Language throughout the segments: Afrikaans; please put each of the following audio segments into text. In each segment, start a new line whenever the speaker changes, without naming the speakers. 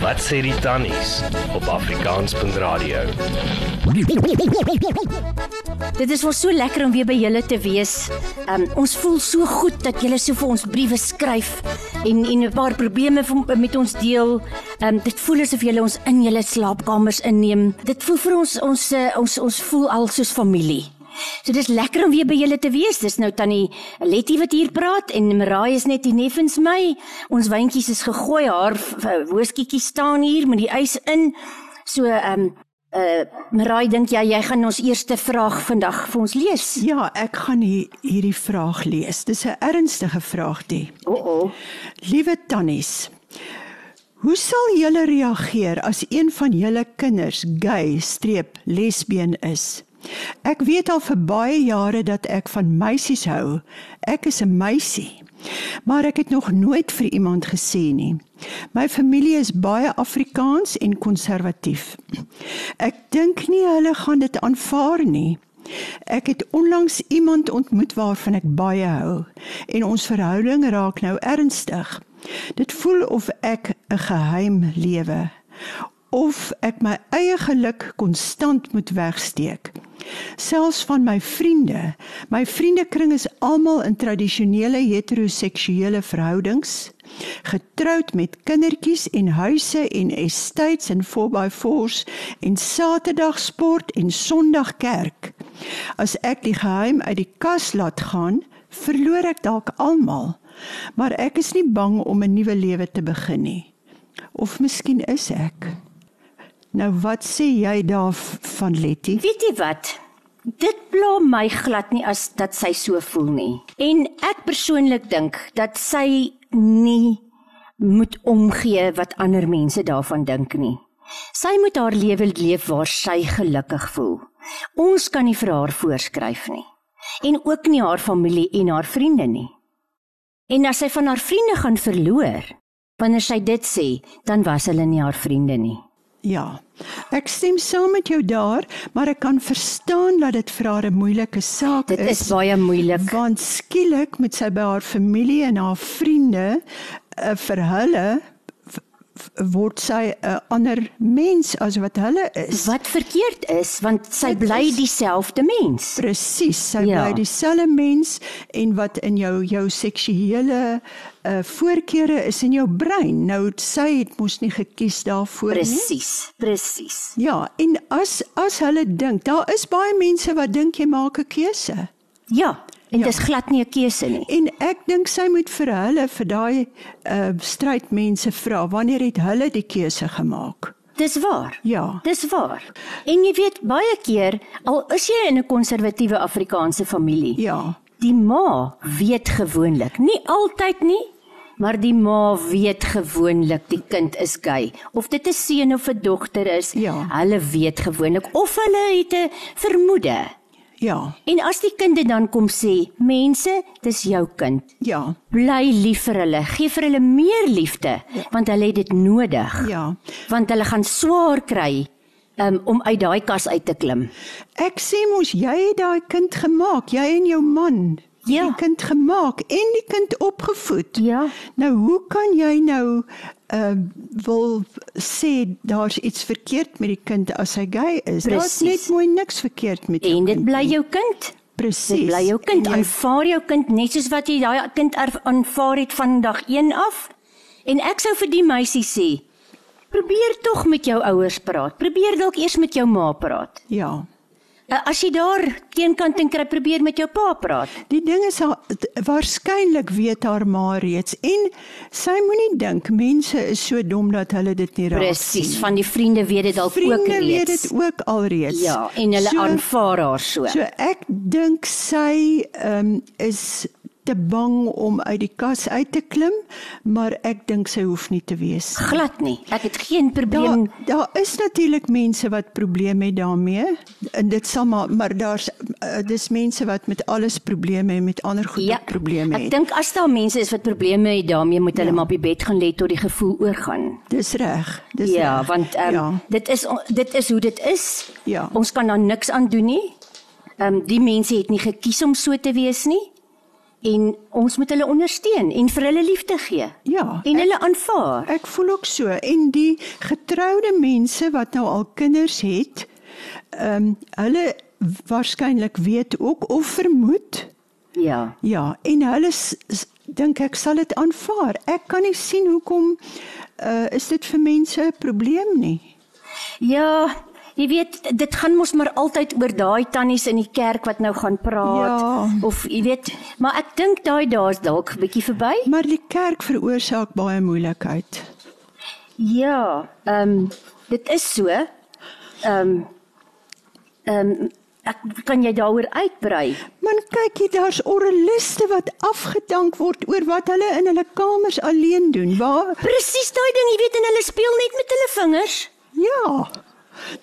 Wat sê die tannies op Afrikaans.radio?
Dit is vir so lekker om weer by julle te wees. Um, ons voel so goed dat julle so vir ons briewe skryf en en 'n paar probleme vir, met ons deel. Um, dit voel asof julle ons in julle slaapkamers inneem. Dit voel vir ons ons eh, ons ons voel al soos familie. So dis lekker om weer by julle te wees. Dis nou tannie Letty wat hier praat en Marai is net hier neffens my. Ons wyntjies is gegooi. Haar v- v- wooskietjies staan hier met die ys in. So ehm um, uh Marai dink jy jy gaan ons eerste vraag vandag vir ons lees.
Ja, ek gaan hier hierdie vraag lees. Dis 'n ernstige vraag die.
O oh, o. Oh.
Liewe tannies, hoe sal julle reageer as een van julle kinders gay-lesbien is? Ek weet al vir baie jare dat ek van meisies hou. Ek is 'n meisie. Maar ek het nog nooit vir iemand gesê nie. My familie is baie Afrikaans en konservatief. Ek dink nie hulle gaan dit aanvaar nie. Ek het onlangs iemand ontmoet waarvan ek baie hou en ons verhouding raak nou ernstig. Dit voel of ek 'n geheim lewe of ek my eie geluk konstant moet wegsteek. Selfs van my vriende, my vriendekring is almal in tradisionele heteroseksuele verhoudings, getroud met kindertjies en huise en estates en 4x4s en Saterdag sport en Sondag kerk. As ek die geheim uit die kas laat gaan, verloor ek dalk almal, maar ek is nie bang om 'n nuwe lewe te begin nie. Of miskien is ek. Nou wat sê jy daar van Letty?
Weet jy wat? Dit pla my glad nie as dat sy so voel nie. En ek persoonlik dink dat sy nie moet omgee wat ander mense daarvan dink nie. Sy moet haar lewe leef waar sy gelukkig voel. Ons kan nie vir haar voorskryf nie en ook nie haar familie en haar vriende nie. En as sy van haar vriende gaan verloor, wanneer sy dit sê, dan was hulle nie haar vriende nie.
Ja. Ek stem saam met jou daar, maar ek kan verstaan dat dit vir haar 'n moeilike saak
Dit is,
is.
is baie moeilik.
Ja, want skielik moet sy by haar familie en haar vriende uh, vir hulle v- v- word sy 'n ander mens as wat hulle is.
Wat verkeerd is, want sy
Dit
bly
is-
dieselfde mens.
Presies, sy
Ja.
ja. bly dieselfde mens en wat in jou jou seksuele uh, voorkeure is in jou brein. Nou sy het mos nie gekies daarvoor nie.
Presies, presies.
Ja, en as as hulle dink, daar is baie mense wat dink jy maak 'n keuse.
Ja, en
Ja.
dis glad nie 'n keuse nie.
En ek dink sy moet vir hulle vir daai uh, strydmense vra wanneer het hulle die keuse gemaak?
Dis waar.
Ja.
Dis waar. En jy weet baie keer al is jy in 'n konservatiewe Afrikaanse familie,
Ja.
die ma weet gewoonlik, nie altyd nie, maar die ma weet gewoonlik die kind is gay of dit 'n seun of 'n dogter is.
Ja.
Hulle weet gewoonlik of hulle het 'n vermoede.
Ja.
En as die kind dit dan kom sê, mense, dis jou kind.
Ja.
Bly lief vir hulle, gee vir hulle meer liefde, want hulle het dit nodig.
Ja.
Want hulle gaan swaar kry um, om uit daai kas uit te klim.
Ek sê mos jy het daai kind gemaak, jy en jou man. het
Ja.
Die kind gemaak en die kind opgevoed.
Ja.
Nou hoe kan jy nou uh wil sê daar's iets verkeerd met die kind as hy gay is? Daar's
Presies.
net mooi niks verkeerd met jou
En dit
kind
bly
nie.
jou kind.
presies.
Dit bly jou kind.
En jy-
Aanvaar jou kind net soos wat jy daai kind erf- aanvaar het van dag 1 af. En ek sou vir die meisie sê, probeer tog met jou ouers praat. Probeer dalk eers met jou ma praat.
Ja.
Eh, As jy daar teenkant en kry probeer met jou pa praat.
Die ding is haar- t- waarskynlik weet haar ma reeds en sy moenie dink mense is so dom dat hulle dit nie raak sien
Presies,
nie.
van die vriende weet dit dalk ook
Vriende weet
reeds.
dit ook alreeds.
Ja, en hulle so,
so,
aanvaar haar so. so
So ek dink sy ehm um, is te bang om uit die kas uit te klim, maar ek dink sy hoef nie te wees. nie.
glad nie. Ek het geen
Daar
probleem.
daar is natuurlik mense wat probleme het daarmee en dit sal maar maar daar's eh, dis mense wat met alles probleme en met ander goed
Ja,
ook probleme
ek
het.
dink as daar mense is wat probleme het daarmee, moet hulle ja.
Ja.
maar op die bed gaan lê tot die gevoel oorgaan.
Dis reg. Dis
Ja,
reg.
want um, ja.
ja.
dit is on- dit is hoe dit is.
Ja.
Ons kan daar niks aan doen nie. Ehm um, die mense het nie gekies om so te wees nie. en ons moet hulle ondersteun en vir hulle liefde gee.
Ja,
En hulle aanvaar.
Ek voel ook so en die getroude mense wat nou al kinders het, ehm um, hulle waarskynlik weet ook of vermoed
Ja.
Ja, en hulle s- s- dink ek sal dit aanvaar. Ek kan nie sien hoekom uh, is dit vir mense 'n probleem nie.
Ja, jy weet, dit gaan mos maar altyd oor daai tannies in die kerk wat nou gaan praat
Ja.
of jy weet, maar ek dink daai daar's dalk 'n bietjie verby.
Maar die kerk veroorsaak baie moeilikheid.
Ja, ehm dit is so. Ehm ehm ek kan jy daaroor uitbrei?
Man kyk hier, daar's oraliste wat afgedank word oor wat hulle in hulle kamers alleen doen. Waar
Presies daai ding, jy weet en hulle speel net met hulle vingers.
ja.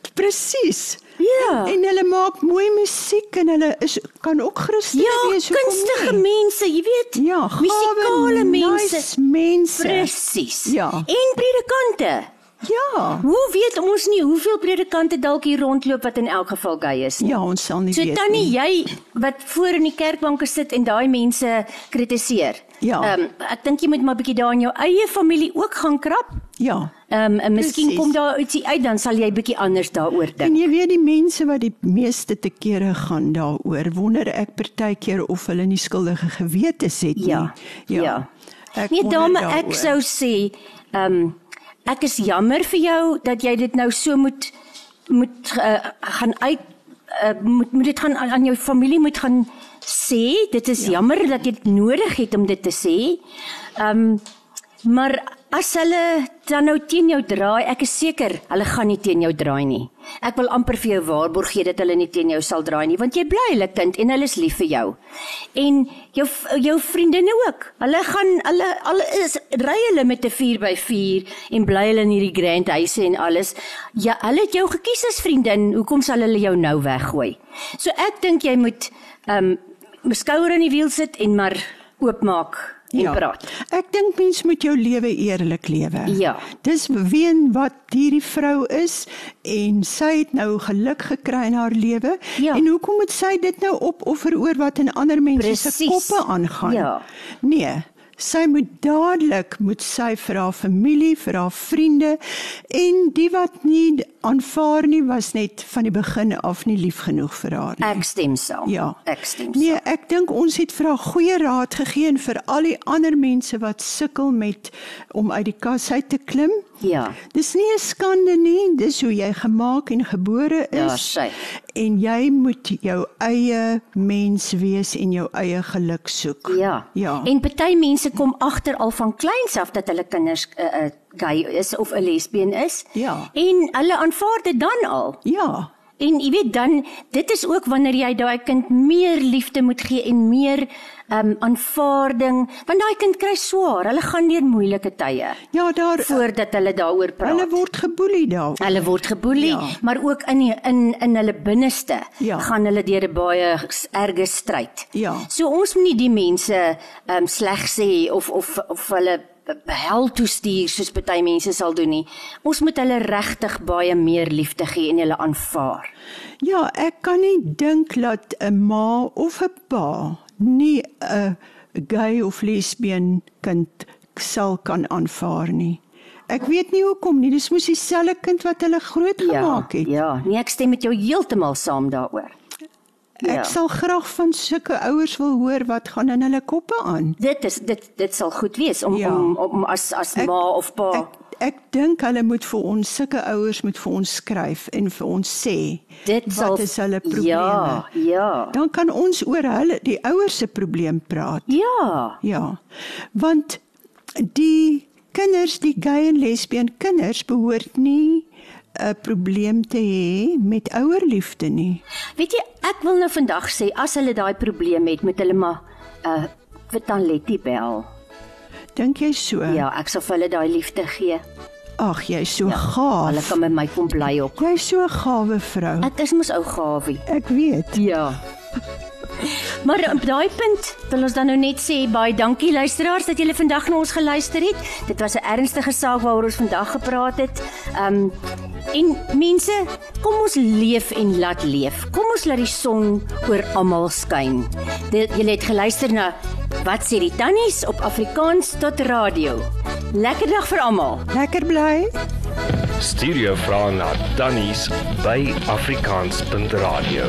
t- Presies.
Ja.
En, en hulle maak mooi musiek en hulle is kan ook Christene
Ja,
wees hoekom
kunstige
nie?
mense, jy weet.
Ja, gawe,
musikale mense.
Nice mense.
Presies.
Ja.
En predikante.
Ja.
Hoe weet ons nie hoeveel predikante dalk hier rondloop wat in elk geval gay is nie?
Ja, ons sal nie
So
weet
tannie, jy wat voor in die kerkbanke sit en daai mense kritiseer.
Ja.
Ehm ek dink jy moet maar 'n bietjie daar in jou eie familie ook gaan krap.
nie. Ja.
Ehm en miskien
Presies.
kom daar ietsie uit dan sal jy bietjie anders daaroor
En
dink.
jy weet die mense wat die meeste te kere gaan daaroor, wonder ek partykeer of hulle nie skuldige gewetes het nie.
Ja.
Ek
nee
wonder
dame,
daaroor.
ek sou sê ehm ek is jammer vir jou dat jy dit nou so moet moet uh, gaan uit uh, moet moet dit gaan aan, aan jou familie moet gaan sê. Dit is ja. jammer dat jy dit nodig het om dit te sê. Ehm Maar as hulle dan nou teen jou draai, ek is seker hulle gaan nie teen jou draai nie. Ek wil amper vir jou waarborg gee dat hulle nie teen jou sal draai nie, want jy bly hulle kind en hulle is lief vir jou. En jou jou vriendinne ook. Hulle gaan hulle al is ry hulle met 'n 4x4 en bly hulle in hierdie grand huise en alles. Ja, hulle het jou gekies as vriendin. Hoekom sal hulle jou nou weggooi? So ek dink jy moet ehm um, skouer aan die wiel sit en maar oopmaak en ja. praat.
Ek dink mens moet jou lewe eerlik lewe.
Ja.
Dis ween wat hierdie vrou is en sy het nou geluk gekry in haar lewe
Ja.
en hoekom moet sy dit nou opoffer oor wat in ander mense se
Presies.
koppe aangaan?
Ja.
Nee. Sy moet dadelik moet sy vir haar familie, vir haar vriende en die wat nie aanvaar nie was net van die begin af nie lief genoeg vir haar nie.
Ek stem saam.
Ja.
Ek stem saam.
Nee, ek dink ons het vir haar goeie raad gegee en vir al die ander mense wat sukkel met om uit die kas uit te klim.
Ja.
Dis nie 'n skande nie, dis hoe jy gemaak en gebore is.
Ja, sy.
En jy moet jou eie mens wees en jou eie geluk soek.
Ja.
Ja.
En party mense kom agter al van kleins af dat hulle kinders 'n uh, uh, gay is of 'n lesbien is.
Ja.
En hulle aanvaar dit dan al.
ja.
En jy weet dan dit is ook wanneer jy daai kind meer liefde moet gee en meer ehm um, aanvaarding, want daai kind kry swaar. Hulle gaan deur moeilike tye
Ja, daar
voordat hulle daaroor praat.
hulle word geboelie daar.
Hulle word geboelie,
Ja.
ja. maar ook in die- in in hulle binneste
Ja.
gaan hulle deur 'n baie s- erge stryd.
Ja.
So ons moet nie die mense ehm um, sleg sê of of of hulle b- b- hel toestuur soos baie mense sal doen nie. Ons moet hulle regtig baie meer liefde gee en hulle aanvaar.
Ja, ek kan nie dink dat 'n ma of 'n pa nie 'n gay of lesbien kind sal kan aanvaar nie. Ek weet nie hoekom nie. Dis mos dieselfde kind wat hulle grootgemaak het.
ja. Nee, ek stem met jou heeltemal saam daaroor. ja.
Ek sal graag van sulke ouers wil hoor wat gaan in hulle koppe aan.
Dit is dit dit sal goed wees om
Ja.
ja. om, om as as ek, ma of pa
Ek ek dink hulle moet vir ons sulke ouers moet vir ons skryf en vir ons sê
dit
wat
sal
is hulle probleme.
Ja, ja.
Dan kan ons oor hulle die ouers se probleem praat.
Ja.
Ja. Want die kinders, die gay en lesbien kinders behoort nie 'n probleem te hê met ouerliefde nie.
Weet jy, ek wil nou vandag sê as hulle daai probleem het met hulle maar uh vir Tanletti bel.
Dink jy so?
Ja, ek sal vir hulle daai liefde gee. Ja,
Ag, jy's so
Hulle
gaaf.
kan met my kom bly ook.
Jy's so 'n gawe vrou. Ek,
Ek is mos ou gawie.
ek weet.
Ja. Maar eh, op daai punt wil ons dan nou net sê baie dankie luisteraars dat julle vandag na ons geluister het. Dit was 'n ernstige saak waaroor ons vandag gepraat het. Um en mense, kom ons leef en laat leef. Kom ons laat die son oor almal skyn. Dit- Julle het geluister na Wat sê die tannies op Afrikaans tot radio? Lekker dag vir almal.
Lekker bly.
Stuur jou vrae na tannies by afrikaans.radio.